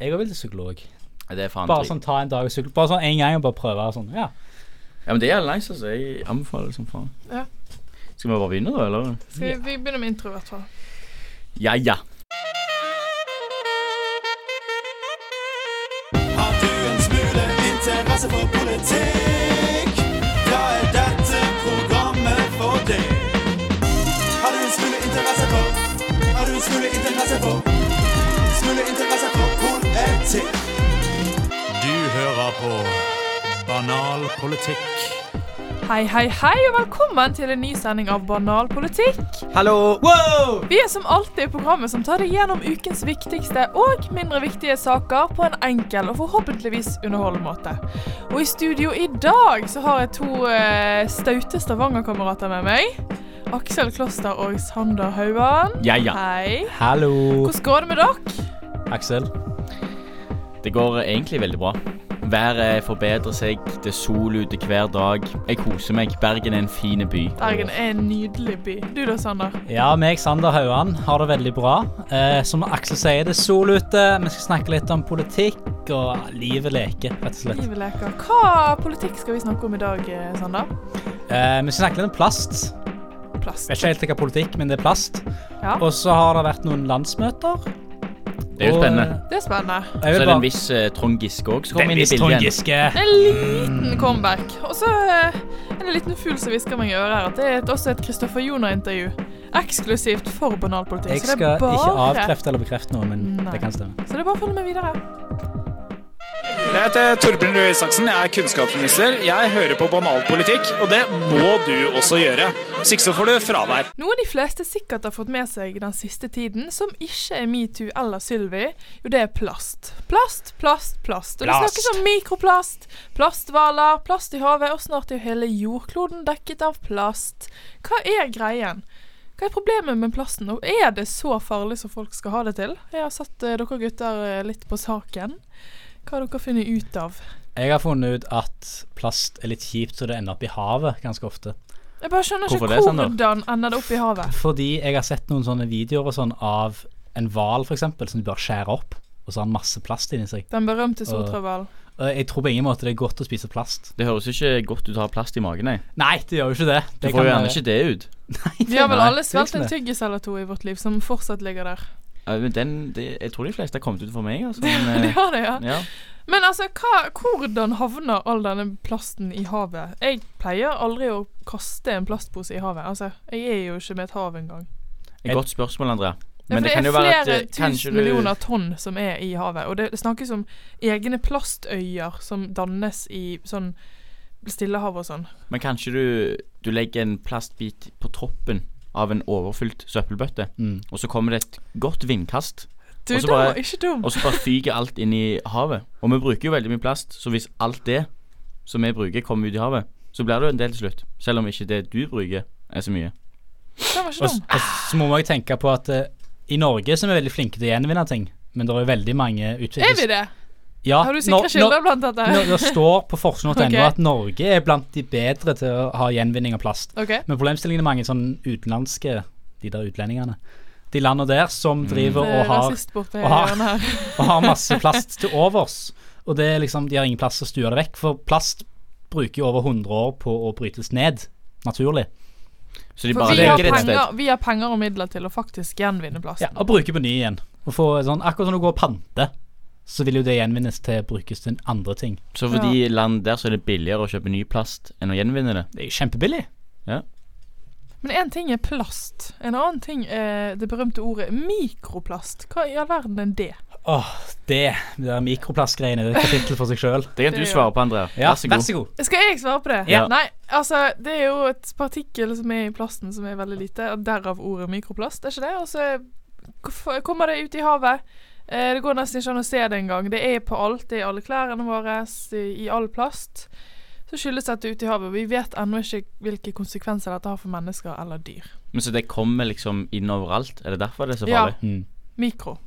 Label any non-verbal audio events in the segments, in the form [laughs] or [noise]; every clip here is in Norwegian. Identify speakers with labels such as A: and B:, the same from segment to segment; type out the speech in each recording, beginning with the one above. A: Jeg òg vil til psykolog.
B: Det er faen
A: Bare
B: drit.
A: sånn ta en dag og psykolog. Bare sånn en gang og bare prøve. og Sånn. Ja.
B: Ja, men det er jævlig nice, altså. Jeg anbefaler det som faen.
C: Ja.
B: Skal vi bare begynne, da, eller?
C: Skal vi, vi begynner med intro, i hvert fall.
B: Ja, ja.
D: Har du en smule interesse for politikk? Da er dette programmet for deg. Har du en smule interesse for Har du en smule interesse for Smule interesse for politikk? Du hører på Banal politikk.
C: Hei, hei, hei, og velkommen til en ny sending av Banal politikk.
E: Hallo! Wow!
C: Vi er som alltid programmet som tar deg gjennom ukens viktigste og mindre viktige saker på en enkel og forhåpentligvis underholdende måte. Og i studio i dag så har jeg to eh, staute Stavanger-kamerater med meg. Aksel Kloster og Sander Haugan.
B: Ja, ja.
C: Hei.
A: Hallo,
C: Hvordan går det med dere?
A: Aksel.
B: Det går eh, egentlig veldig bra. Været forbedrer seg, det er sol ute hver dag. Jeg koser meg. Bergen er en fin by.
C: Bergen er en nydelig by. Du da, Sander?
A: Ja, meg, Sander Hauan, har det veldig bra. Eh, som Aksel sier, det er sol ute. Vi skal snakke litt om politikk og livet leker, rett og slett.
C: Livet leker. Hva politikk skal vi snakke om i dag, eh, Sander?
A: Eh, vi skal snakke litt om plast.
C: Plast.
A: Vet ikke helt hva politikk, men det er plast.
C: Ja.
A: Og så har det vært noen landsmøter.
B: Det er jo
A: Og,
B: spennende.
C: Det er spennende.
A: eh, jeg
B: Så
A: vil
B: er det en
A: bare-
B: viss eh, Trond Giske òg som
A: Den
B: kommer inn i
A: visste Trond
B: bildet igjen.
A: Giske.
C: En liten comeback. Og så eh, er det en liten fugl som hvisker meg i øret her at det er et, også et Kristoffer Joner-intervju. Eksklusivt for banalpolitikk.
A: Jeg
C: Så det er
A: skal
C: bare-
A: ikke avkrefte eller bekrefte noe, men
C: Nei.
A: det kan stemme.
C: Så det er bare å følge med videre.
F: Jeg heter Torbjørn Røe Isaksen, jeg er kunnskapsminister. Jeg hører på banalpolitikk, og det må du også gjøre. Hvis ikke så får du fravær.
C: Noe de fleste sikkert har fått med seg den siste tiden, som ikke er metoo eller Sylvi, jo det er plast. Plast, plast, plast. Og det
A: Plast.
C: snakkes om mikroplast, plasthvaler, plast i havet, og snart er jo hele jordkloden dekket av plast. Hva er greien? Hva er problemet med plasten, og er det så farlig som folk skal ha det til? Jeg har satt eh, dere gutter eh, litt på saken. Hva har dere funnet ut av?
A: Jeg har funnet ut at plast er litt kjipt, så det ender opp i havet ganske ofte.
C: Jeg bare skjønner
B: Hvorfor
C: ikke
B: det, Sander?
C: hvordan ender det opp i havet.
A: Fordi jeg har sett noen sånne videoer og sånn av en hval f.eks. som de bare skjærer opp, og så har han masse plast inni seg.
C: Den berømte soltrøbbelen.
A: Og jeg tror på ingen måte det er godt å spise plast.
B: Det høres jo ikke godt ut å ha plast i magen, nei.
A: Nei, det gjør jo ikke det.
B: Du får jo gjerne ikke det ut.
C: Vi har vel
A: Nei,
C: alle
A: det er ikke
C: svelget en
A: det.
C: tyggis eller to i vårt liv som fortsatt ligger der.
B: Ja, men Den, det, jeg tror de fleste har kommet ut for meg, altså.
C: [laughs] Det
B: Men, eh,
C: har det, ja.
B: ja.
C: Men altså, hva, hvordan havner all denne plasten i havet? Jeg pleier aldri å kaste en plastpose i havet. Altså, jeg er jo ikke med et hav engang.
B: Et godt spørsmål, Andrea.
C: Ja, for det,
B: kan
C: er
B: jo være at,
C: flere
B: eh, kanskje
C: tusen
B: du-
C: millioner tonn som er i havet. Og det, det snakkes om egne plastøyer som dannes i sånn Stillehavet og sånn.
B: Men kanskje du, du legger en plastbit på toppen av en overfylt søppelbøtte,
A: Mm.
B: og så kommer det et godt vindkast,
C: Du,
B: Og så
C: da
B: bare-
C: var ikke dum.
B: og så bare fyker alt inn i havet. Og vi bruker jo veldig mye plast, så hvis alt det som vi bruker, kommer ut i havet, så blir det jo en del til slutt. Selv om ikke det du bruker, er så mye.
C: Den var
A: Og,
C: ikke
A: s-
C: dum.
A: og så må jeg tenke på at eh, i Norge så er vi veldig flinke til å gjenvinne ting, men det er jo veldig mange
C: Er vi det?
B: Ah,
A: Ja,
C: Har du
A: når-
C: sikre kilder blant dette?
A: når- når Det står på forskning.no
C: [laughs] Ok.
A: at Norge er blant de bedre til å ha gjenvinning av plast.
C: [laughs] OK.
A: Men problemstillingen er mange sånn utenlandske De der utlendingene De landene der
B: Mm.
A: som driver
C: Det
A: og
C: er
A: har,
C: rasist borte i
A: og har-
C: hjørnet her.
A: og har masse plast til overs Og det er liksom, de har ingen plass til å stue det vekk For plast bruker jo over 100 år på å brytes ned Naturlig
B: Så de
C: For
B: bare
C: vi har,
B: legger det et sted.
C: penger, vi har penger og midler til å faktisk gjenvinne
A: ja,
C: plasten.
A: Og bruker på ny igjen Og få sånn, akkurat som du går og pante Så vil jo det gjenvinnes til å brukes til andre ting
B: Så for de land der så er det billigere å kjøpe ny plast enn å gjenvinne det.
A: Det er jo kjempebillig
C: Men én ting er plast. En annen ting er det berømte ordet mikroplast. Hva i all verden er det?
A: Åh, det, det der mikroplastgreiene Det er et kapittel for seg selv
B: Det kan du
C: Det-
B: svare på, Andrea.
A: ja,
B: Vær så god.
C: Skal jeg svare på det?
B: Ja.
C: Nei, altså det er jo et partikkel som er i plasten som er veldig lite, og derav ordet mikroplast, er ikke det? Og så k- f- kommer det ut i havet. Eh, Det går nesten ikke an å se det engang. Det er på alt. Det er i alle klærne våre, s- i all plast. Så skyldes dette ut i havet. Vi vet ennå ikke hvilke konsekvenser dette har for mennesker eller dyr.
B: Men så det kommer liksom inn overalt? Er det derfor det er så
C: Ja.
B: farlig?
A: mm.
C: Mikro.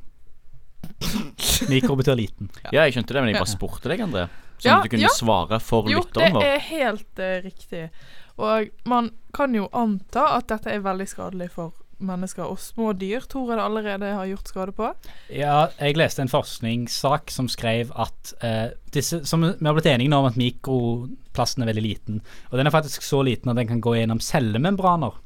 A: Mikro betyr liten
B: Ja, jeg skjønte det, men jeg bare spurte deg, Andrea. Sånn
C: Ja,
B: at du kunne
C: ja.
B: svare for
C: Jo, det
B: lytteren vår.
C: er helt eh, riktig. Og man kan jo anta at dette er veldig skadelig for mennesker og små dyr tror jeg det allerede har gjort skade på.
A: Ja, jeg leste en forskningssak som skrev at eh, disse, som Vi har blitt enige nå om at mikroplasten er veldig liten. Og den er faktisk så liten at den kan gå gjennom cellemembraner.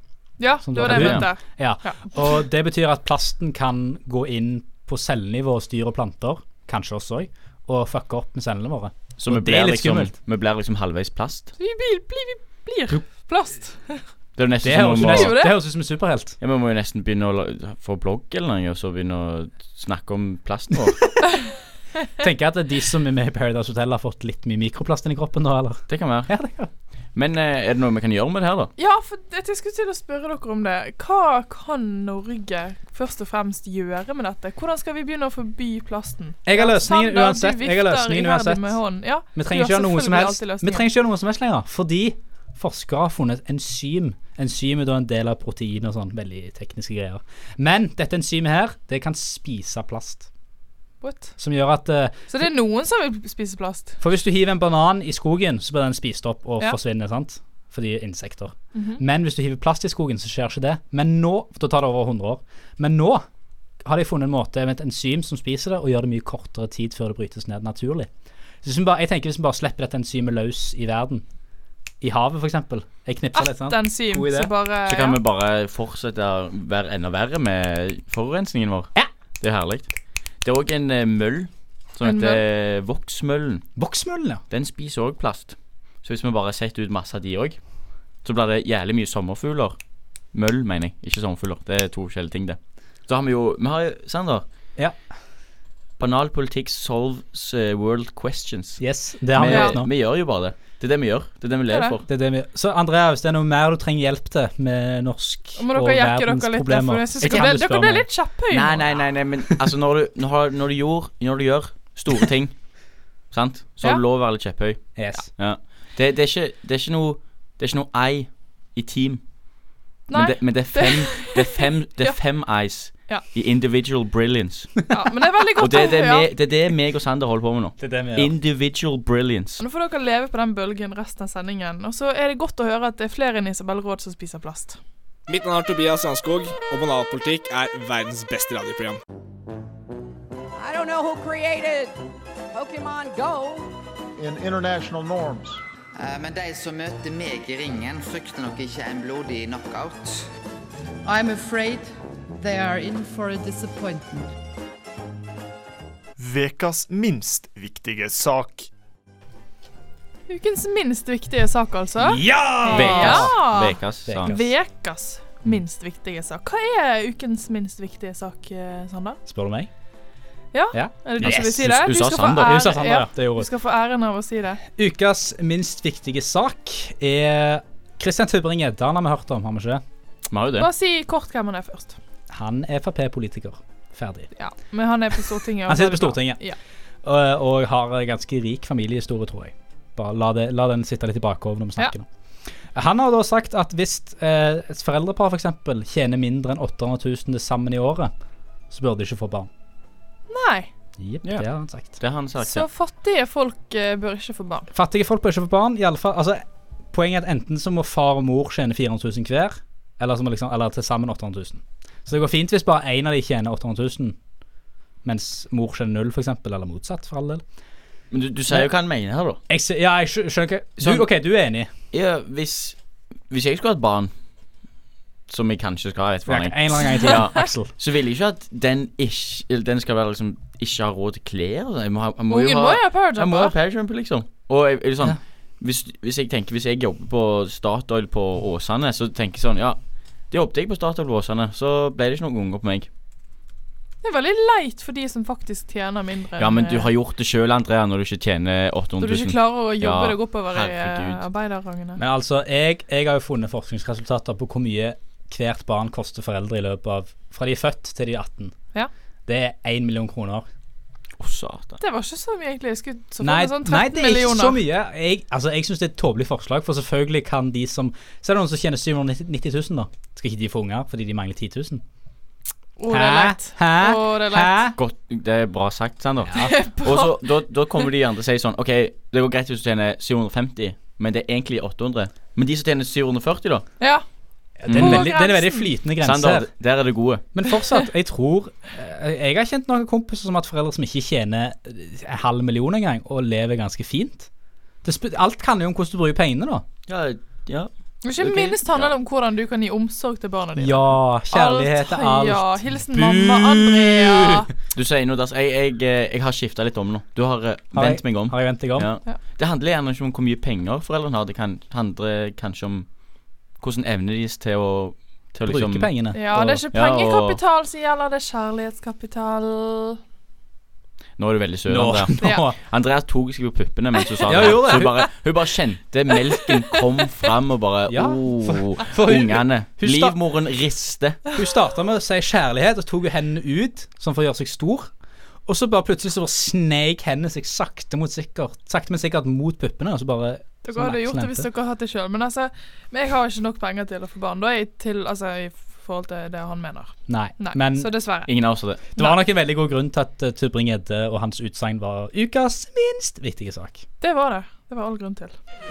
C: Ja,
A: Som
C: det var
A: da-
C: det jeg
A: Ja.
C: mente.
A: Ja,
C: Ja.
A: Og det betyr at plasten kan gå inn på cellenivå hos dyr og planter, kanskje oss òg, og fucke opp med cellene våre.
B: Så vi
A: det er
B: blir,
A: litt
B: liksom,
A: skummelt.
B: vi blir liksom halvveis plast.
C: Vi blir, blir, vi blir plast.
B: Det er jo nesten
A: Det
B: som
A: høres
B: om
A: det
B: vi
C: nesten-
B: må,
A: det høres ut som en superhelt.
B: ja, vi må jo nesten begynne å la- få blogg eller noe, og så begynne å snakke om plasten vår.
A: Tenker jeg at de som er med i Paradise Hotel, har fått litt mye mikroplast inn i kroppen nå, eller?
B: Det kan være.
A: Ja, det kan.
B: Men eh, er det noe vi kan gjøre med det her, da?
C: Ja, for det- jeg skulle til å spørre dere om det. Hva kan Norge først og fremst gjøre med dette? Hvordan skal vi begynne å forby plasten?
A: Jeg har løsningen
C: Sander,
A: uansett.
C: du
A: Jeg har
C: vifter
A: løsningen
C: iherdig
A: uansett.
C: med hånden. Ja,
A: Vi trenger
C: du
A: ikke
C: har
A: gjøre noe som
C: selvfølgelig
A: helst
C: alltid
A: Vi
C: løsninger.
A: trenger ikke gjøre noe som helst lenger, fordi forskere har funnet et enzym. Enzym er da en del av protein og sånn, veldig tekniske greier. Men dette enzymet her, det kan spise plast.
C: What?
A: Som gjør at eh,
C: Så det er noen som vil spise plast?
A: For hvis du hiver en banan i skogen, så blir den spist opp og
C: Ja. Mhm.
A: forsvinner, sant? Fordi insekter. Men hvis du hiver plast i skogen, så skjer ikke det. Men nå Da tar det over 100 år. Men nå har de funnet en måte med et enzym som spiser det, og gjør det mye kortere tid før det brytes ned naturlig. Så hvis vi bare, jeg tenker hvis vi bare slipper dette enzymet løs i verden, i havet f.eks. Jeg knipser litt,
C: Ett
A: sant?
C: enzym
A: God idé.
C: som bare
B: Så kan vi bare fortsette å være enda verre med forurensningen vår.
A: Ja.
B: Det er herlig. Det er òg en eh, møll som
C: En
B: heter voksmøllen.
A: Voksmøllen, ja.
B: Den spiser òg plast. Så hvis vi bare setter ut masse av de òg, så blir det jævlig mye sommerfugler. Møll, mener jeg. Ikke sommerfugler. Det er to forskjellige ting, det. Så har vi jo Vi har Sander.
A: Ja.
B: Banal politikk solves eh, world questions.
A: Yes, det har
B: Vi,
A: vi
C: Ja.
A: gjort nå.
B: vi gjør jo bare det. Det er det vi gjør. Det er det vi
C: Det
B: lever
C: er det.
B: for.
A: Det er det vi, så Andrea, hvis det er noe mer du trenger hjelp til med norsk
C: Må
A: og
C: dere jekke
A: verdens
C: dere litt der, for
A: problemer
C: jeg synes
A: Jeg
C: dere
A: kan
C: ble-
A: du
C: dere
A: spørre
C: ble
A: meg.
C: litt kjepphøye.
B: Nei,
C: nå.
B: nei, nei, nei men altså når du, når, når, du gjør, når du gjør store ting, sant, så har
C: Ja.
B: du lov å være litt kjepphøy.
A: Yes.
B: Ja. Det, det, er ikke, det er ikke noe Det er ikke noe ei i team, men
C: Nei.
B: det, men det er
C: [laughs]
B: fem Det er fem, det
C: Ja.
B: er fem eyes
C: Ja.
B: i individual brilliance.
C: Ja, men det er veldig
B: [laughs] Og
C: godt
B: det, er det,
C: å høre.
B: me, det er det meg og Sander holder på med nå.
A: Det er det vi
B: Individual brilliance.
C: Nå får dere leve på den bølgen resten av sendingen. Og så er det godt å høre at det er flere enn Isabel Råd som spiser plast.
E: Mitt navn er Tobias Strandskog, og Banalpolitikk er verdens beste radioprogram.
G: I don't know who created Pokemon Go.
H: in international norms.
I: Eh, Men de som møter meg i ringen, frykter nok ikke en blodig knockout.
J: I'm afraid they are in for a disappointment.
K: Vekas minst viktige sak.
C: Ukens minst viktige sak, altså.
B: Vekas.
C: Ja.
B: Vekas, sa han.
C: Vekas minst viktige sak. Hva er ukens minst viktige sak, eh, Sander?
A: Spør du meg?
C: Ja?
A: Ja.
C: Er det du
B: Yes,
C: som vil si det?
B: du sa
C: skal få
B: Sander.
C: ære-
A: Jeg sa Sander, ja.
C: ja.
A: Det
C: Du
A: gjorde jeg.
C: skal få æren av å si det.
A: Ukas minst viktige sak er Christian Tybring-Gjedde. Han har vi hørt om, har vi ikke? det?
B: Vi har jo det.
C: Bare si kort hvem han er først.
A: Han er Frp-politiker. Ferdig.
C: Ja, Men han er på Stortinget. og
A: Han sitter
C: så er
A: på
C: det bra.
A: Stortinget.
C: Ja.
A: Og, og har en ganske rik familiehistorie, tror jeg. Bare la, det, la den sitte litt i bakhodet når vi snakker nå. Han har da sagt at hvis eh, et foreldrepar f.eks. tjener mindre enn 800 000 til sammen i året, så bør de ikke få barn.
C: Nei,
A: Jepp,
B: Ja.
A: det har han sagt.
B: Det har han sagt.
C: så
B: Ja.
C: fattige folk eh, bør ikke få barn.
A: Fattige folk bør ikke få barn. I alle fall, altså, poenget er at enten så må far og mor tjene 400 000 hver, eller, så må liksom, eller til sammen 800 000. Så det går fint hvis bare én av de tjener 800 000, mens mor tjener null, f.eks., eller motsatt, for all del.
B: Men du, du sier jo hva han mener her, da.
A: Jeg, ser- ja, jeg skjø- skjønner ikke
B: Sånn-
A: du, OK, du er enig.
B: Ja, hvis, hvis jeg skulle hatt barn, som jeg kanskje skal ha, jeg vet
A: Ja,
B: faen
A: en
B: jeg.
A: eller annen gang til,
B: [laughs] Ja.
A: Aksel.
B: Så vil jeg ikke at den, ikke, eller den skal være liksom ikke ha råd til klær. og sånn. Jeg må ha, jeg må
C: Ungen
B: jo
C: må jo
B: ha,
C: ha
B: jeg må ha
C: parajumper.
B: parajumper, liksom. Og jeg, er det sånn,
A: Ja.
B: hvis, hvis jeg tenker Hvis jeg jobber på Statoil på Åsane, så tenker jeg sånn Ja, det jobbet jeg på Statoil på Åsane, så ble det ikke noen unger på meg.
C: Det er veldig leit for de som faktisk tjener mindre.
B: Ja, men
C: enn,
B: du
C: eh,
B: har gjort det sjøl, Andrea, når du ikke tjener
C: Når du
B: 800 000.
C: ikke klarer å jobbe
B: Ja,
C: deg oppover i eh,
B: herregud.
C: arbeiderrangene.
A: Men altså, jeg, jeg har jo funnet forskningsresultater på hvor mye hvert barn koster foreldre i løpet av Fra de er født til de er 18.
C: Ja.
A: Det er 1 million kroner.
B: Å, satan.
C: Det var ikke så mye, egentlig. Jeg skulle så
A: Nei,
C: for meg sånn 13
A: nei, det er ikke
C: millioner.
A: så mye. Jeg, altså, jeg syns det er et tåpelig forslag, for selvfølgelig kan de som Så er det noen som tjener 790 000, da. Skal ikke de få unger fordi de mangler 10 000?
C: Å, det er leit.
A: Hæ?
C: Å, det er
A: Hæ?
C: leit.
B: Godt, det er bra sagt, Sander. Og så, da, da kommer de andre og sier sånn OK, det går greit hvis du tjener 750, men det er egentlig 800. Men de som tjener 740, da?
C: Ja.
A: Det er en veldig, det er en veldig flytende grense
B: Sander,
A: her.
B: der er det gode.
A: Men fortsatt, jeg tror eh, Jeg har kjent noen kompiser som har hatt foreldre som ikke tjener eh, en halv million engang, og lever ganske fint. Det sp alt handler jo om hvordan du bruker pengene, da.
B: Ja, ja.
C: Og Ikke
B: Ok,
C: minst handler det om hvordan du kan gi omsorg til barna dine.
A: Ja, kjærlighet er alt.
C: Ja, hilsen mamma Andrea.
B: Du sier noe, Dass. Jeg, jeg, eh, jeg har skifta litt om nå. Du har eh,
A: Har jeg-
B: vendt meg om.
A: har jeg vendt deg om?
B: Ja. Det handler gjerne ikke om hvor mye penger foreldrene har. Det kan, handler kanskje om hvordan evne de gis til å til å
A: Bruke
B: liksom,
A: pengene.
C: Ja, det er ikke
B: Ja, og-
C: pengekapital som gjelder, det er kjærlighetskapital.
B: Nå er du veldig søt,
A: Nå,
B: Andrea.
A: nå. Ja.
B: Andrea tok seg på puppene mens hun sa
A: Ja,
B: det.
A: gjorde
B: Så
A: jeg.
B: hun bare, hun bare kjente melken kom fram, og bare
A: Ja,
B: oh,
A: for hun-
B: Ungene.
A: hun sta-
B: Livmoren rister.
A: Hun starta med å si kjærlighet, og tok jo hendene ut, sånn for å gjøre seg stor. Og så bare plutselig så bare sneik hendene seg sakte, mot sikkert, sakte men sikkert mot puppene. Og så bare
C: Dere hadde gjort det hvis dere hadde hatt det sjøl, men altså Men jeg har ikke nok penger til å få barn, da, i, til, altså, i forhold til det han mener.
A: Nei, men
C: så dessverre.
B: Ingen av oss har det.
A: Det var nok en veldig god grunn til at eh, Tubring-Gjedde og hans utsagn var ukas minst viktige sak.
C: Det var det. Det var all grunn til.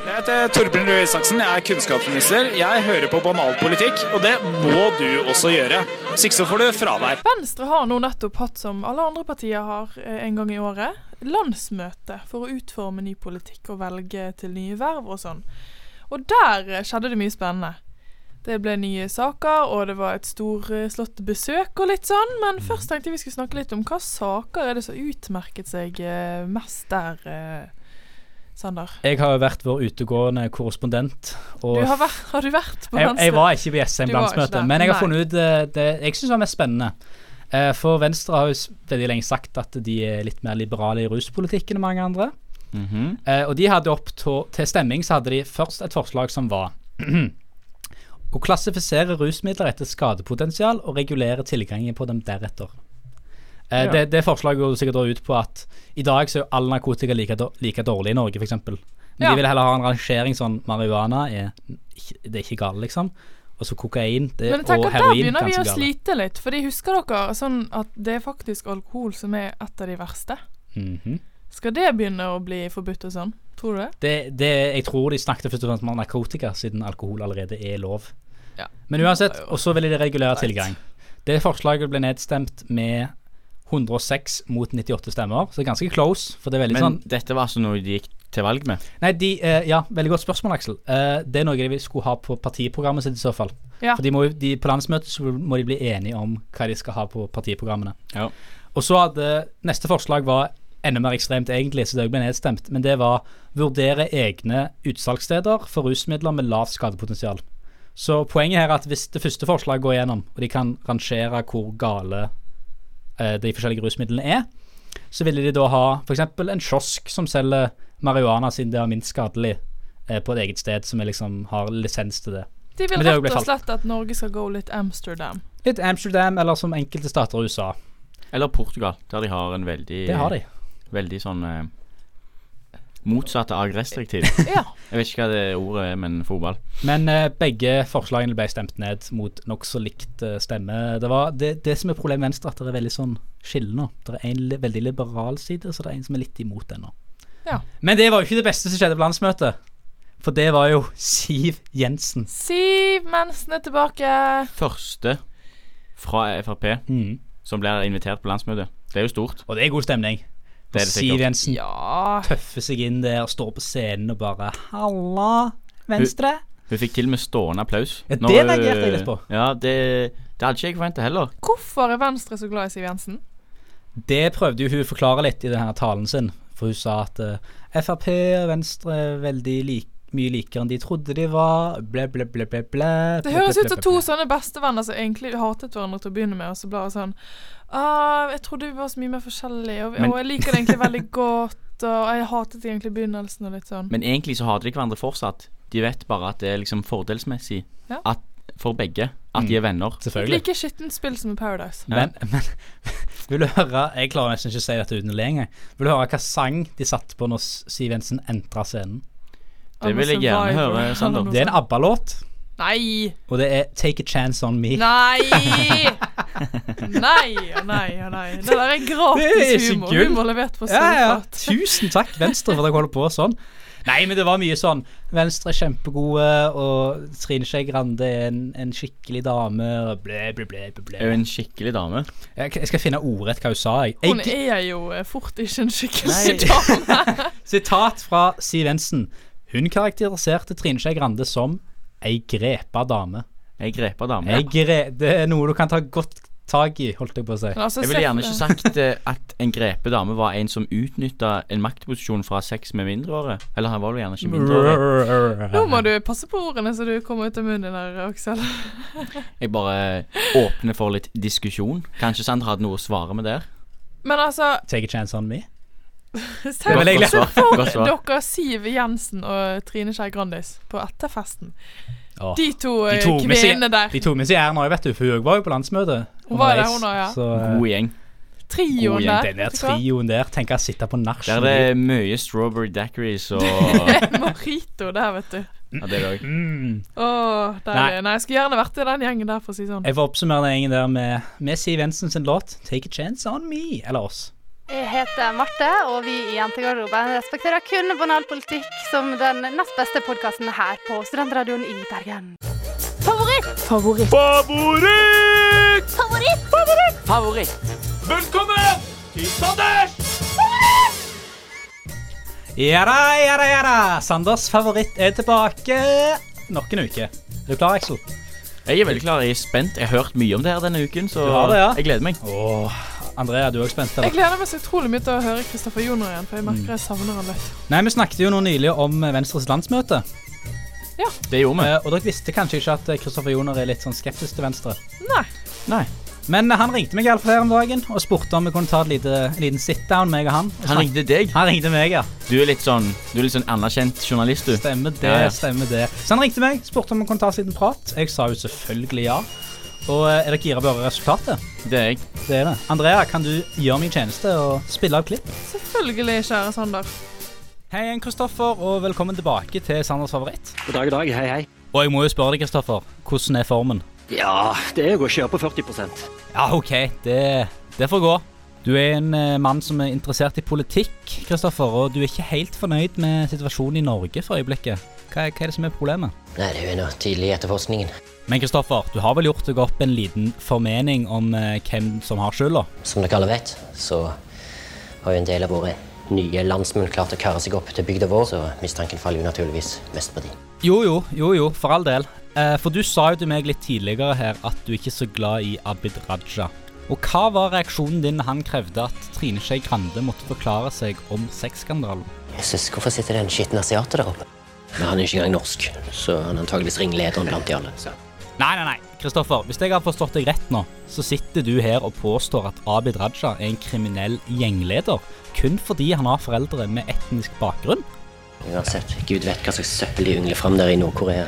F: Jeg heter Torbjørn Røe Isaksen, jeg er kunnskapsminister. Jeg hører på banalpolitikk, og det må du også gjøre. Hvis ikke så får du fravær.
C: Venstre har nå nettopp hatt, som alle andre partier har eh, en gang i året, landsmøte for å utforme ny politikk og velge til nye verv og sånn. Og der eh, skjedde det mye spennende. Det ble nye saker, og det var et storslått besøk og litt sånn,
A: Mm.
C: men først tenkte jeg vi skulle snakke litt om hva saker er det som utmerket seg eh, mest der, eh, Sander?
A: Jeg har jo vært vår utegående korrespondent.
C: Du
A: Og
C: har, vært, har du vært på
A: jeg,
C: Venstre?
A: jeg var ikke på
C: Du
A: Jessheim
C: var ikke
A: landsmøte,
C: der.
A: men jeg har
C: Nei.
A: funnet ut eh, det jeg syns var mest spennende. Eh, For Venstre har jo s- veldig lenge sagt at de er litt mer liberale i ruspolitikken enn mange andre.
B: Mhm.
A: Eh, og de hadde opp til, til stemming så hadde de først et forslag som var [clears throat] å klassifisere rusmidler etter skadepotensial og regulere tilgangen på dem deretter. Eh,
B: Ja.
A: det, det forslaget går sikkert da ut på at i dag så er jo all narkotika like, dår- like dårlig i Norge, f.eks. Men
B: Ja.
A: de vil heller ha en rangering sånn marihuana er, ikke- det er ikke galt, liksom. Og så kokain det,
C: Men jeg
A: Eh, og
C: tenker at der
A: heroin
C: begynner vi
A: ganske
C: å
A: gale.
C: slite litt. Fordi husker dere sånn at det er faktisk alkohol som er et av de verste?
A: Mhm.
C: Skal det begynne å bli forbudt og sånn? Tror du det?
A: det, det, jeg tror de snakket først og fremst om narkotika, siden alkohol allerede er lov.
C: Ja.
A: Men uansett, og så ville de regulere tilgang. Det forslaget ble nedstemt med 106 mot 98 stemmer, så det er ganske close. For det er veldig
B: Men
A: sånn
B: dette var altså noe de gikk til valg med.
A: Nei, de, eh, ja, veldig godt spørsmål, Aksel. Eh, det er noe de skulle ha på partiprogrammet sitt i så fall.
B: Ja.
A: For de må, jo- de, på landsmøtet så må de bli enige om hva de skal ha på partiprogrammene.
B: Ja.
A: Og så hadde neste forslag var enda mer ekstremt egentlig, så det ble nedstemt. Men det var vurdere egne utsalgssteder for rusmidler med lavt skadepotensial. Så poenget her er at hvis det første forslaget går gjennom, og de kan rangere hvor gale eh, de forskjellige rusmidlene er, så ville de da ha f.eks. en kiosk som selger marihuana siden det er minst skadelig, eh, på et eget sted som er liksom har lisens til det.
C: De vil
A: Men det er jo
C: rett
A: blitt
C: og
A: falt.
C: slett at Norge skal gå litt Amsterdam. [laughs]
A: Litt Amsterdam, eller som enkelte stater i USA.
B: Eller Portugal, der de har en veldig
A: Det har de.
B: Veldig sånn eh, motsatt av restriktiv. Jeg vet ikke hva det ordet er, men fotball.
A: Men eh, begge forslagene ble stemt ned mot nokså likt eh, stemme. Det, var det, det som er problemet med Venstre, at det er veldig sånn skille nå. Det er en li veldig liberal side, så det er en som er litt imot ennå.
C: Ja.
A: Men det var jo ikke det beste som skjedde på landsmøtet. For det var jo Siv Jensen.
C: Siv Mensen er tilbake!
B: Første fra Frp
A: Mhm.
B: som blir invitert på landsmøtet. Det er jo stort.
A: Og det er god stemning.
B: Det er det
A: Siv
B: sikkert.
A: Jensen tøffer seg inn der, står på scenen og bare Halla, Venstre.
B: Hun fikk til og med stående applaus.
A: Ja, det
B: Når hun-
A: reagerte jeg litt på.
B: Ja, det, det hadde ikke jeg forventa heller.
C: Hvorfor er Venstre så glad i Siv Jensen?
A: Det prøvde jo hun å forklare litt i denne talen sin. For hun sa at eh, Frp og Venstre er veldig lik, mye likere enn de trodde de var. Ble, ble, ble, ble, ble.
C: Det høres ut som to sånne bestevenner som egentlig hatet hverandre til å begynne med, og så ble det sånn ah, 'Jeg trodde vi var så mye mer forskjellige, og, vi-
B: Men-
C: og jeg liker det egentlig veldig godt', og 'jeg hatet egentlig begynnelsen', og litt sånn.
B: Men egentlig så hater de hverandre fortsatt. De vet bare at det er liksom fordelsmessig
C: Ja.
B: at, for begge at de er
A: Mm.
B: venner.
C: Jeg liker skittent spill som i Paradise.
A: Men, [laughs] men vil du høre Jeg klarer nesten ikke å si dette uten å le engang. Vil du høre hva sang de satte på når Siv Jensen entra scenen?
B: Det vil jeg gjerne høre, Sander.
A: Det er en ABBA-låt.
C: Nei!
A: Og det er 'Take a Chance On Me'.
C: Nei! Nei og nei og nei. Det der er
A: Det er
C: gratis
A: så
C: humor.
A: gull.
C: Humor levert på
A: Ja, ja.
C: solfart.
A: Tusen takk, Venstre, for at dere holder på sånn. Nei, men det var mye sånn. Venstre er kjempegode, og Trine Skei Grande er en, en skikkelig dame. Og ble, ble, ble, ble,
B: Er jo
A: ble.
B: en skikkelig dame.
A: Jeg, jeg skal finne ordrett hva hun sa. Jeg.
C: Hun
A: Jeg,
C: er jo eh, fort ikke en
A: Nei.
C: skikkelig
A: [laughs]
C: dame.
A: sitat fra Siv Jensen. Hun karakteriserte Trine Skei Grande som ei grepa dame.
B: Ei grepa dame.
A: Ei gre det er noe du kan ta godt tak i, holdt jeg på å si.
C: Men altså,
B: Jeg ville gjerne
C: se-
B: ikke sagt eh, at en grepe dame var en som utnytta en maktposisjon fra sex med mindreårige. Eller han var vel gjerne ikke mindreårig.
C: Nå må du passe på ordene så du kommer ut av munnen din her, Aksel.
B: Jeg bare åpner for litt diskusjon. Kanskje Sander hadde noe å svare med der.
C: Men altså
A: Take a chance on me.
C: Se
A: Det var
B: Godt,
A: egentlig-
B: godt
C: se
B: svar.
C: for
B: Godt svar.
C: dere Siv Jensen og Trine Skei Grandis på etterfesten.
A: Åh.
C: De to eh,
A: De tok med seg-
C: kvinnene der.
A: De tok med seg æren òg, vet du, for hun var jo på landsmøtet.
C: Hun var det,
A: underveis.
C: hun også, ja.
A: Så, eh,
B: God gjeng.
C: Trioen
B: god gjeng,
C: der.
A: Den der
C: vet du hva?
A: trioen der, tenk å sitte på nach.
B: Der er det mye strawberry daiquiris
A: [laughs]
B: og ja,
C: Mojito der, vet du.
B: det er det òg.
A: Mm.
C: Åh, der,
A: Nei.
C: nei. nei, jeg skulle gjerne vært i den gjengen der, for å si det sånn.
A: Jeg får oppsummere den gjengen der med, med Siv Jensen sin låt 'Take a Chance On Me'. Eller oss.
L: Jeg heter Marte, og vi i Jentegarderoben respekterer kun banal politikk som den nest beste podkasten her på Studentradioen i Bergen. Favoritt!
M: Favoritt.
F: Favoritt!
L: Favoritt!
M: Favoritt.
F: Velkommen til Sanders!
A: Ja da, ja da, ja da. Sanders favoritt er tilbake nok en uke. Er du klar, Axel?
B: Jeg er veldig klar, jeg er spent. Jeg har hørt mye om det her denne uken, så
A: Du har det, ja?
B: jeg gleder meg.
A: Åh, Andrea, du er òg spent?
C: Jeg
A: Eller?
C: gleder meg så utrolig mye til å høre Kristoffer Joner igjen, for jeg merker jeg savner han litt.
A: Nei, Vi snakket jo nå nylig om eh, Venstres landsmøte.
C: Ja.
B: Det gjorde vi.
A: Eh, og dere visste kanskje ikke at eh, Kristoffer Joner er litt sånn skeptisk til Venstre.
C: Nei.
B: Nei.
A: Men eh, han ringte meg iallfall her om dagen og spurte om vi kunne ta et lite, en liten sit-down, meg og han. og
B: Han
A: snakke-
B: ringte deg.
A: han ringte meg, ja.
B: Du er litt sånn Du er litt sånn anerkjent journalist, du.
A: Stemmer det,
B: Ja, ja.
A: stemmer det. Så han ringte meg, spurte om han kunne ta oss en liten prat. Jeg sa jo selvfølgelig ja. Og eh, er dere gira på å høre resultatet?
B: Det er jeg.
A: Det er det. Andrea, kan du gjøre min tjeneste og spille av klipp?
C: Selvfølgelig, kjære Sander.
A: Hei igjen, Kristoffer, og velkommen tilbake til Sanders favoritt.
N: God dag, god dag. Hei, hei.
A: Og jeg må jo spørre deg, Kristoffer, hvordan er formen?
N: Ja, det er jo å kjøre på 40
A: Ja, Ah, OK, det, det får gå. Du er en eh, mann som er interessert i politikk, Kristoffer, og du er ikke helt fornøyd med situasjonen i Norge for øyeblikket. Hva, er- hva er det som er problemet?
O: Nei, det er jo ennå tidlig i etterforskningen.
A: Men Kristoffer, du har vel gjort deg opp en liten formening om eh, hvem som har skylda?
O: Som dere alle vet, så har jo en del av våre nye landsmenn klart å karre seg opp til bygda vår, så mistanken faller jo naturligvis mest på de.
A: Jo, jo, jo, jo, for all del. Eh, for du sa jo til meg litt tidligere her at du ikke er så glad i Abid Raja. Og hva var reaksjonen din da han krevde at Trine Skei Grande måtte forklare seg om sexskandalen?
O: Jesus, hvorfor sitter det en skitten asiater der oppe? Men han er ikke engang norsk, så han er antageligvis ringlederen blant de alle. Så.
A: Nei, nei, nei. Kristoffer, hvis jeg har forstått deg rett nå, så sitter du her og påstår at Abid Raja er en kriminell gjengleder kun fordi han har foreldre med etnisk bakgrunn?
O: Uansett, gud vet hva slags søppel de yngler fram der i Nord-Korea.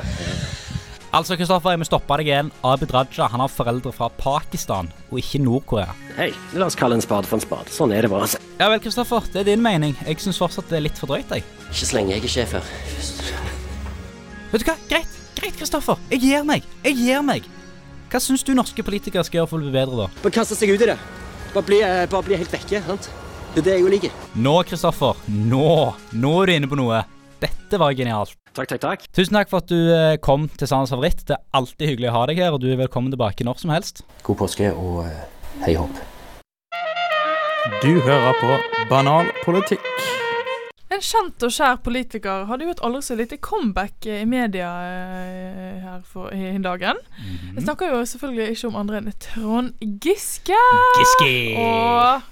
A: Altså, Kristoffer, jeg må stoppe deg igjen. Abid Raja han har foreldre fra Pakistan og ikke Nord-Korea.
O: Hei, la oss kalle en spade for en spade. Sånn er det bare. altså.
A: Ja vel, Kristoffer, det er din mening. Jeg syns fortsatt det er litt for drøyt, jeg.
O: Ikke så lenge jeg er sjef her.
A: Vet du hva? Greit, greit, Kristoffer. Jeg gir meg. Jeg gir meg. Hva syns du norske politikere skal gjøre for å bli bedre, da?
N: Bare kaste seg ut i det. Bare bli, eh, bare bli helt vekke. sant? Det er det jeg jo liker.
A: Nå, Kristoffer. Nå. Nå er du inne på noe. Dette var genialt.
N: Takk, takk, takk.
A: Tusen takk for at du eh, kom til Sanders favoritt. Det er alltid hyggelig å ha deg her, og du er velkommen tilbake når som helst.
O: God påske og eh, hei hopp.
P: Du hører på Banal politikk.
C: En kjent og kjær politiker hadde jo et aldri så lite comeback eh, i media eh, her for i dagen. Jeg snakker jo selvfølgelig ikke om andre enn Trond Giske.
A: Giske!
C: Og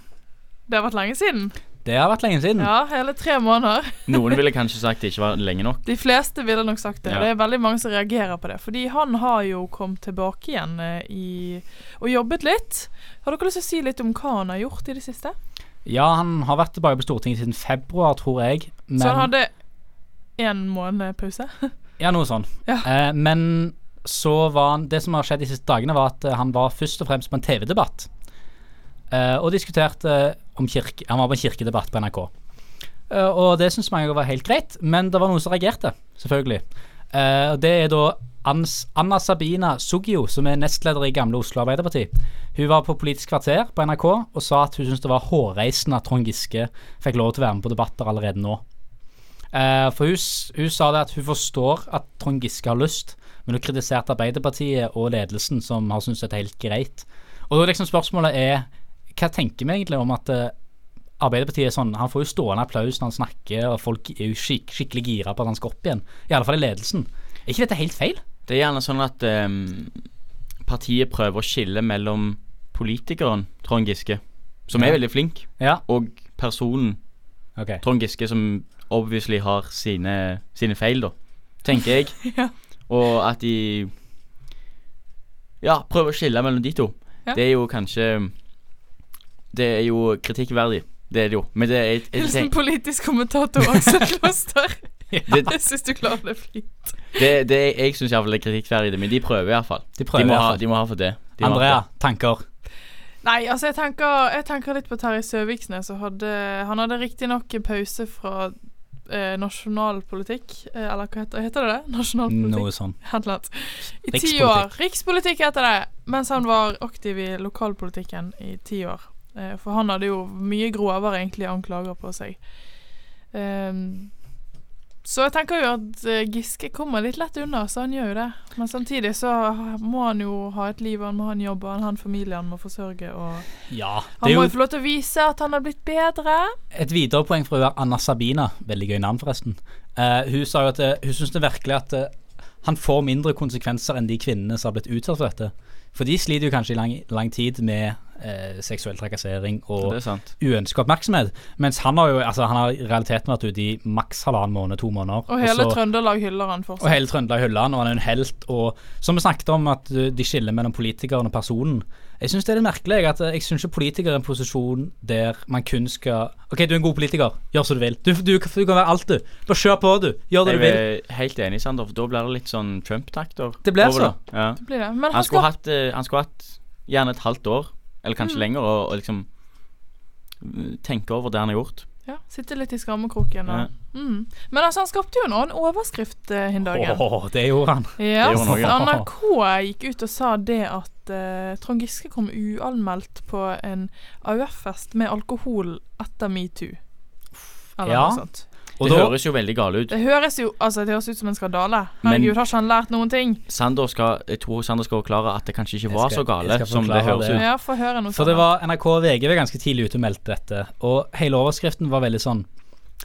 C: det har vært lenge siden.
A: Det har vært lenge siden.
C: Ja, hele tre måneder.
B: Noen ville kanskje sagt det ikke var lenge nok.
C: De fleste ville nok sagt det.
B: Ja.
C: og Det er veldig mange som reagerer på det. Fordi han har jo kommet tilbake igjen eh, i, og jobbet litt. Har dere lyst til å si litt om hva han har gjort i det siste?
A: Ja, han har vært tilbake på Stortinget siden februar, tror jeg. Men,
C: Så han hadde én måned pause?
A: Ja, noe sånn.
C: Ja.
A: Eh, men så var han Det som har skjedd de siste dagene, var at eh, han var først og fremst på en TV-debatt. Eh, og diskuterte eh, om kirke Han var på en kirkedebatt på NRK. Eh, og det syns mange var helt greit, men det var noen som reagerte, selvfølgelig. Eh, og det er da Ans, Anna Sabina Suggio, som er nestleder i Gamle Oslo Arbeiderparti. Hun var på Politisk kvarter på NRK og sa at hun syntes det var hårreisende at Trond Giske fikk lov til å være med på debatter allerede nå. Eh, for hun, s- hun sa det at hun forstår at Trond Giske har lyst, men hun kritiserte Arbeiderpartiet og ledelsen, som har syntes dette er helt greit. Og da er liksom spørsmålet er Hva tenker vi egentlig om at eh, Arbeiderpartiet er sånn Han får jo stående applaus når han snakker, og folk er jo skik skikkelig gira på at han skal opp igjen. I alle fall i ledelsen. Er ikke dette helt feil?
B: Det er gjerne sånn at ehm, partiet prøver å skille mellom politikeren Trond Giske, som
A: Ja.
B: er veldig flink, og personen
A: Ok.
B: Trond Giske, som obviously har sine, sine feil, da, tenker jeg. Og at de ja, prøver å skille mellom de to.
C: Ja.
B: Det er jo kanskje Det er jo kritikkverdig. Det er det jo. Men det er jeg- jeg
C: Hilsen
B: tenker-
C: sånn politisk kommentator Aksel Kloster.
B: Det-
C: [laughs] Jeg syns du klarer det fint.
B: Det, det jeg syns iallfall er kritikkverdig, men de prøver iallfall.
A: De prøver i
B: må,
A: hvert
B: ha-
A: fall.
B: de må ha for det. De må ha for
A: Andrea,
B: det.
A: tanker?
C: Nei, altså jeg tenker, jeg tenker litt på Terje Søviksnes. og Hadde, han hadde riktignok en pause fra eh, nasjonalpolitikk, eh, eller hva heter, heter det det? Nasjonalpolitikk?
A: Noe sånn.
C: Et eller annet. I ti år.
A: Rikspolitikk.
C: Rikspolitikk heter det. Mens han var aktiv i lokalpolitikken i ti år. Eh, for han hadde jo mye grovere egentlig anklager på seg. Ehm, så jeg tenker jo at eh, Giske kommer litt lett unna, så han gjør jo det. Men samtidig så må han jo ha et liv, han må ha en jobb, og han har en familie han må forsørge. Og
A: Ja.
C: han
A: Det
C: må
A: er
C: jo
A: jo
C: få lov til å vise at han har blitt bedre.
A: et videre poeng for å være Anna Sabina. Veldig gøy navn, forresten. Eh, hun sa jo at eh, hun syns det virkelig at eh, han får mindre konsekvenser enn de kvinnene som har blitt utsatt for dette. For de sliter jo kanskje i lang, lang tid med eh, seksuell trakassering og
B: Det er sant.
A: uønska oppmerksomhet. Mens han har jo altså, han har i realiteten vært ute i maks halvannen måned, to måneder.
C: Og hele
A: så-
C: Trøndelag hyller han fortsatt.
A: Og hele Trøndelag hyller han, og han er en helt. Og som vi snakket om, at uh, de skiller mellom politikeren og personen. Jeg syns det er litt merkelig. At uh, jeg syns ikke politiker er en posisjon der man kun skal OK, du er en god politiker. Gjør som du vil. Du, du, du kan være alt, du. Bare kjør på, du. Gjør det du
B: Jeg
A: vil.
B: er helt enig, Sander, for da blir det litt sånn Trump-takter.
A: Det blir
B: over
A: så.
B: Ja.
C: Det blir det. Men
B: Han,
C: han
B: skulle
C: skal-
B: hatt, eh, han skulle hatt gjerne et halvt år, eller kanskje
C: Mm.
B: lenger, og, og liksom mm, tenke over det han har gjort.
C: Ja, Sitter litt i skammekroken. Og, mm. Men altså, han skapte jo en annen overskrift eh, hin dagen.
A: Åh, det gjorde han.
C: Ja,
A: det gjorde han
C: NRK gikk ut og sa det at eh, Trond Giske kom uanmeldt på en AUF-fest med alkohol etter metoo. Eller
B: Ja.
C: noe sånt.
B: det høres jo veldig gale ut.
C: Det høres jo altså, det høres ut som en skandale.
B: Men-
C: Herregud, har ikke han lært noen ting?
B: Sander skal, jeg tror Sander skal forklare at det kanskje ikke var
A: skal-
B: så gale
A: jeg skal
B: som
A: forklare
B: det høres
A: det.
B: ut.
C: Ja, få høre noe
A: For det var NRK og VG var ganske tidlig ute og meldte dette. Og hele overskriften var veldig sånn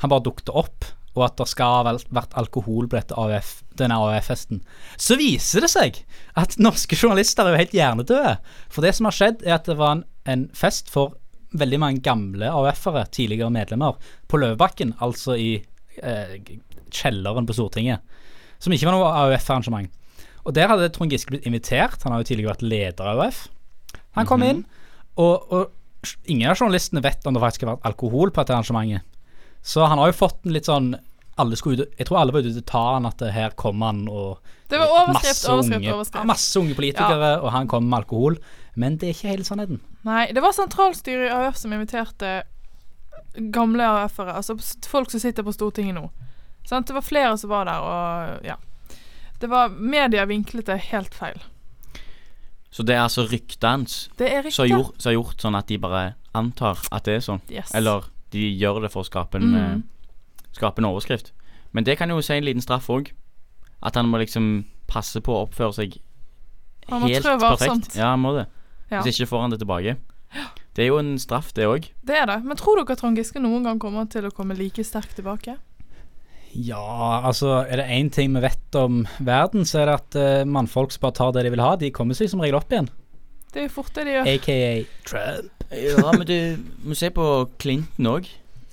A: Han bare dukket opp, og at det skal ha vel- vært alkohol på dette AUF, denne AUF-festen. Så viser det seg at norske journalister er jo helt hjernedøde. For det som har skjedd, er at det var en, en fest for veldig mange gamle AUF-ere, tidligere medlemmer, på Løvebakken, altså i eh, g- kjelleren på Stortinget. Som ikke var noe AUF-arrangement. Og der hadde Trond Giske blitt invitert. Han har jo tidligere vært leder av AUF. Han
C: Mhm.
A: kom inn, og, og s- ingen av journalistene vet om det faktisk har vært alkohol på dette arrangementet. Så han har jo fått en litt sånn alle skulle ut, Jeg tror alle var ute til å ta han at det her kommer han og
C: Det var overskrift, overskrift,
A: unge,
C: overskrift.
A: Masse unge politikere, og han kommer med alkohol. Men det er ikke hele sannheten.
C: Nei, det var sentralstyret i AUF som inviterte gamle AUF-ere, altså s- folk som sitter på Stortinget nå. Sant? Det var flere som var der, og ja. Det var Media vinklet det helt feil.
B: Så det er altså ryktet hans
C: Det er ryktet.
B: som har gjort- som har gjort sånn at de bare antar at det er sånn.
C: Yes.
B: Eller de gjør det for å skape en,
C: Mm.
B: eh, skape en overskrift. Men det kan jo si en liten straff òg. At han må liksom passe på å oppføre seg
C: Han må
B: helt
C: trå varsomt.
B: perfekt. Ja, han må det.
C: Ja.
B: Hvis ikke får han det tilbake. Det er jo en straff, det òg.
C: Det er det. Men tror dere Trond Giske noen gang kommer til å komme like sterkt tilbake?
A: Ja, altså er det én ting vi vet om verden, så er det at eh, mannfolk som bare tar det de vil ha, de kommer seg som regel opp igjen.
C: Det er jo fort det de gjør.
A: AKA Trump.
B: Ja, men du må se på Clinton òg.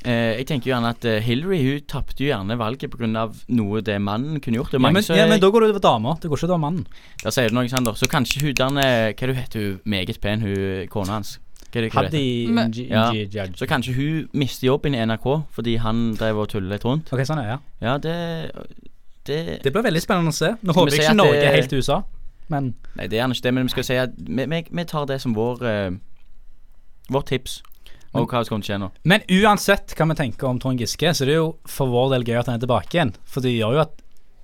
B: Eh, jeg tenker jo gjerne at eh, Hillary hun tapte jo gjerne valget pga. noe det mannen kunne gjort. Det er
A: Ja,
B: mange
A: men,
B: som
A: ja,
B: er-
A: men da går det utover dama. Det går ikke utover mannen.
B: Der sier du noe, Sander. Så kanskje hun den eh, Hva du heter hun meget pen, hun eh, kona hans? Hva er det- hva er det
A: Haddy
B: heter?
A: Men- Nji- Nji Judge.
B: Så kanskje hun mister jobben i NRK fordi han drev og tullet litt rundt.
A: Ok, sånn er
B: Ja, det Det,
A: blir veldig spennende å se. Nå
B: Skal vi
A: håper jeg
B: si
A: ikke
B: at
A: Norge
B: det-
A: er helt til USA, men
B: Nei, det er gjerne ikke det, men vi skal si at vi, vi, vi tar det som vår eh, Vårt tips. Og hva som kommer til å skje nå.
A: Men uansett hva vi tenker om Trond Giske, så det er jo for vår del gøy at han er tilbake igjen. For det gjør jo at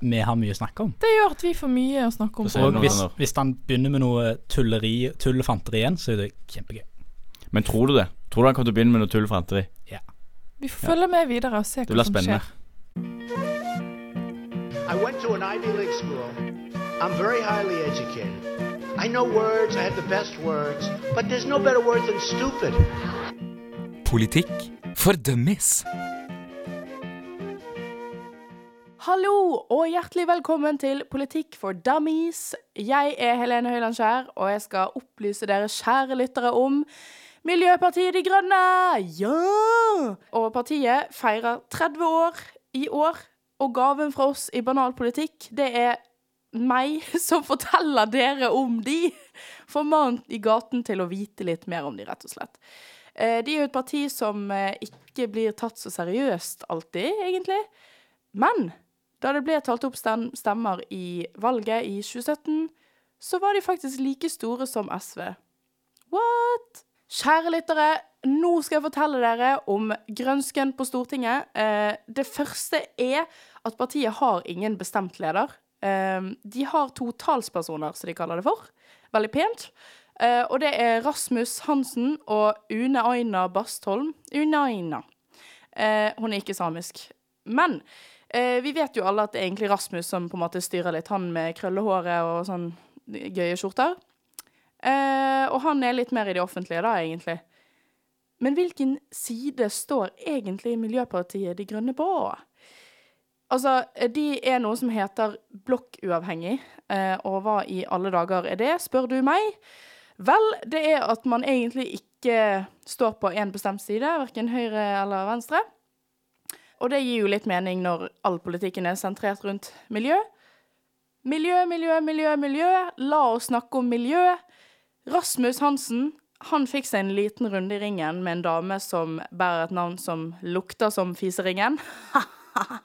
A: vi har mye å snakke om.
Q: Det gjør at vi får mye å snakke om.
A: Og hvis, hvis han begynner med noe tulleri, tull og fanteri igjen, så er det kjempegøy.
B: Men tror du det? Tror du han kommer til å begynne med noe tull framtid?
A: Ja.
Q: Vi får følge med videre og se hva
B: Det blir
Q: som
B: spennende.
Q: skjer.
D: I went to an Ivy League school. I'm very highly educated. I know words, I have the best words, but there's no better word than stupid.
R: Politikk for dummies.
C: Hallo og hjertelig velkommen til Politikk for dummies. Jeg er Helene Høylandskjær, og jeg skal opplyse dere kjære lyttere om Miljøpartiet De Grønne! Ja! Og partiet feirer 30 år i år, og gaven fra oss i Banal politikk, det er meg [laughs] som forteller dere om de. Får mannen i gaten til å vite litt mer om de, rett og slett. Eh, De er jo et parti som eh, ikke blir tatt så seriøst alltid, egentlig. Men da det ble talt opp stem stemmer i valget i 2017, så var de faktisk like store som SV. What? Kjære lyttere, nå skal jeg fortelle dere om grønsken på Stortinget. Eh, det første er at partiet har ingen bestemt leder. Eh, de har to talspersoner, som de kaller det for. Veldig pent. Eh, og det er Rasmus Hansen og Une Aina Bastholm. Une Aina. Eh, hun er ikke samisk. Men eh, vi vet jo alle at det er egentlig Rasmus som på en måte styrer litt. Han med krøllehåret og sånn gøye skjorter. Eh, og han er litt mer i det offentlige, da, egentlig. Men hvilken side står egentlig Miljøpartiet De Grønne på? Altså, de er noe som heter blokkuavhengig, eh, og hva i alle dager er det, spør du meg? Vel, det er at man egentlig ikke står på én bestemt side, verken høyre eller venstre. Og det gir jo litt mening når all politikken er sentrert rundt miljø. Miljø, miljø, miljø, miljø. La oss snakke om miljø. Rasmus Hansen han fikk seg en liten runde i ringen med en dame som bærer et navn som lukter som fiseringen. [laughs]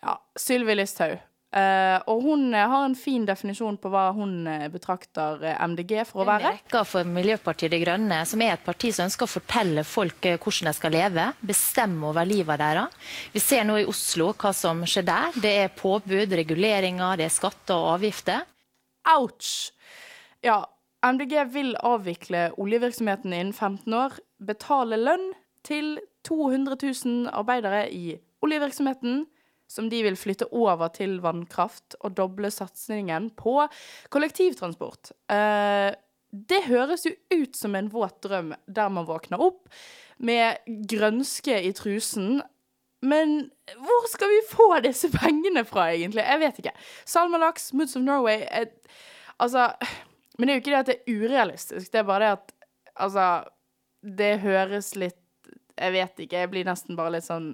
C: ja, Sylvi Listhaug. Eh, og hun eh, har en fin definisjon på hva hun eh, betrakter eh, MDG for å være.
S: rekka for Miljøpartiet De Grønne, som er et parti som ønsker å fortelle folk eh, hvordan de skal leve, bestemme over livet deres. Vi ser nå i Oslo hva som skjer der. Det er påbud, reguleringer, det er skatter og avgifter.
C: Ouch! Ja, MDG vil avvikle oljevirksomheten innen 15 år, betale lønn til 200 000 arbeidere i oljevirksomheten, som de vil flytte over til vannkraft og doble satsingen på kollektivtransport. Eh, det høres jo ut som en våt drøm der man våkner opp med grønske i trusen. Men hvor skal vi få disse pengene fra, egentlig? Jeg vet ikke. Salmalaks, Moods of Norway eh, Altså [sighs] Men det er jo ikke det at det er urealistisk. Det er bare det at Altså, det høres litt Jeg vet ikke. Jeg blir nesten bare litt sånn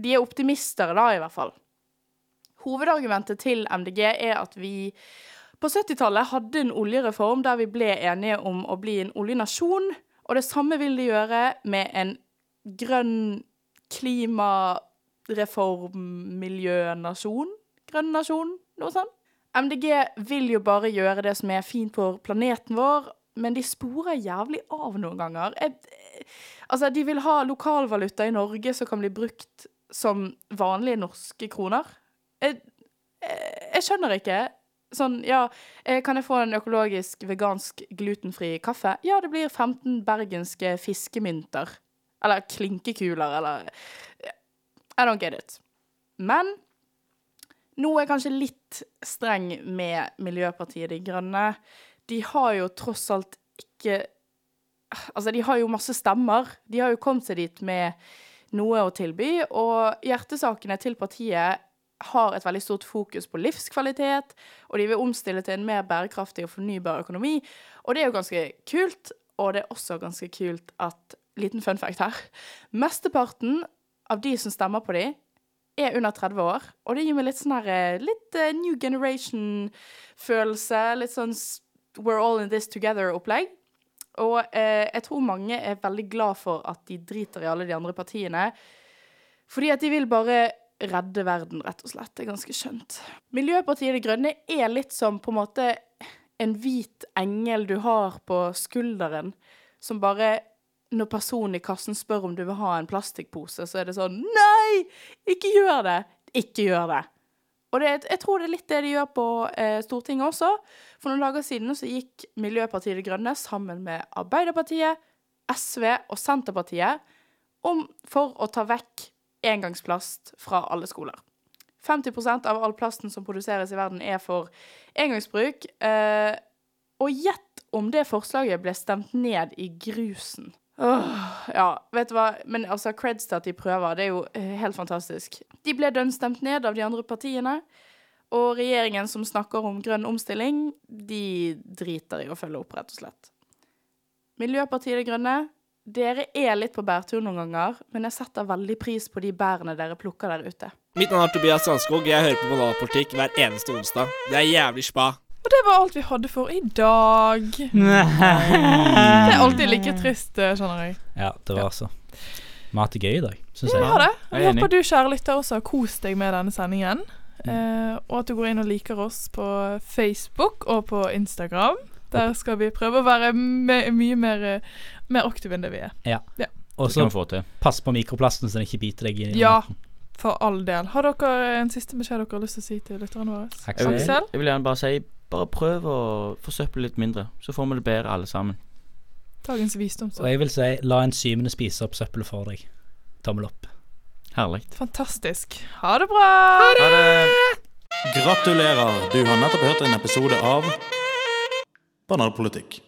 C: De er optimister, da, i hvert fall. Hovedargumentet til MDG er at vi på 70-tallet hadde en oljereform der vi ble enige om å bli en oljenasjon, og det samme vil de gjøre med en grønn klimareform-miljønasjon. Grønn nasjon, noe sånt. MDG vil jo bare gjøre det som er fint for planeten vår, men de sporer jævlig av noen ganger. Jeg, altså, de vil ha lokalvaluta i Norge som kan bli brukt som vanlige norske kroner. Jeg, jeg, jeg skjønner ikke. Sånn, ja, eh, kan jeg få en økologisk, vegansk, glutenfri kaffe? Ja, det blir 15 bergenske fiskemynter. Eller klinkekuler, eller eh, I don't get it. Men nå er jeg kanskje litt streng med Miljøpartiet De Grønne. De har jo tross alt ikke Altså, de har jo masse stemmer. De har jo kommet seg dit med noe å tilby, og hjertesakene til partiet har et veldig stort fokus på livskvalitet, og de vil omstille til en mer bærekraftig og fornybar økonomi. Og det er jo ganske kult, og det er også ganske kult at Liten fun fact her. Mesteparten av de som stemmer på de, er under 30 år, og det gir meg litt sånn her eh, Litt eh, new generation-følelse. Litt sånn s- we're all in this together-opplegg. Og eh, jeg tror mange er veldig glad for at de driter i alle de andre partiene. Fordi at de vil bare redde verden, rett og slett. Det er ganske skjønt. Miljøpartiet De Grønne er litt som på en måte en hvit engel du har på skulderen, som bare når personen i kassen spør om du vil ha en plastikkpose, så er det sånn Nei! Ikke gjør det! Ikke gjør det. Og det, er- jeg tror det er litt det de gjør på eh, Stortinget også. For noen dager siden så gikk Miljøpartiet De Grønne sammen med Arbeiderpartiet, SV og Senterpartiet om, for å ta vekk engangsplast fra alle skoler. 50 av all plasten som produseres i verden er for engangsbruk. Eh, og gjett om det forslaget ble stemt ned i grusen. Åh, ja, vet du hva? Men altså, creds til at de prøver. Det er jo eh, helt fantastisk. De ble dønnstemt ned av de andre partiene. Og regjeringen som snakker om grønn omstilling, de driter i å følge opp, rett og slett. Miljøpartiet De Grønne, dere er litt på bærtur noen ganger, men jeg setter veldig pris på de bærene dere plukker der ute.
F: Mitt navn er Tobias Strandskog. Jeg hører på banalpolitikk hver eneste onsdag. Det er jævlig spa.
T: Og det var alt vi hadde for i dag. Det er alltid like trist, eh, skjønner jeg.
A: Ja, det var altså Vi har hatt det gøy i dag, syns
T: Ja,
A: jeg.
T: vi har det. Og
A: Jeg er
T: Jeg håper
A: enig.
T: du, kjære lytter, også har kost deg med denne sendingen. Eh, og at du går inn og liker oss på Facebook og på Instagram. Der skal vi prøve å være me mye mer, eh, mer aktive enn det vi er.
A: Ja.
T: Ja.
A: Og
B: Det kan
A: så
B: vi få til.
A: pass på mikroplasten så den ikke biter deg i
T: Ja, for all del. Har dere en siste beskjed dere har lyst til å si til lytterne våre?
B: Jeg vil,
T: Aksel?
B: jeg vil gjerne bare si bare prøv å forsøple litt mindre, så får vi det bedre alle sammen.
T: Dagens visdomsord.
A: Og jeg vil si la en syvende spise opp søppelet for deg. Tommel opp.
B: Herlig.
T: Fantastisk. Ha det bra! Ha det!
D: Gratulerer, du har nettopp hørt en episode av Banalpolitikk.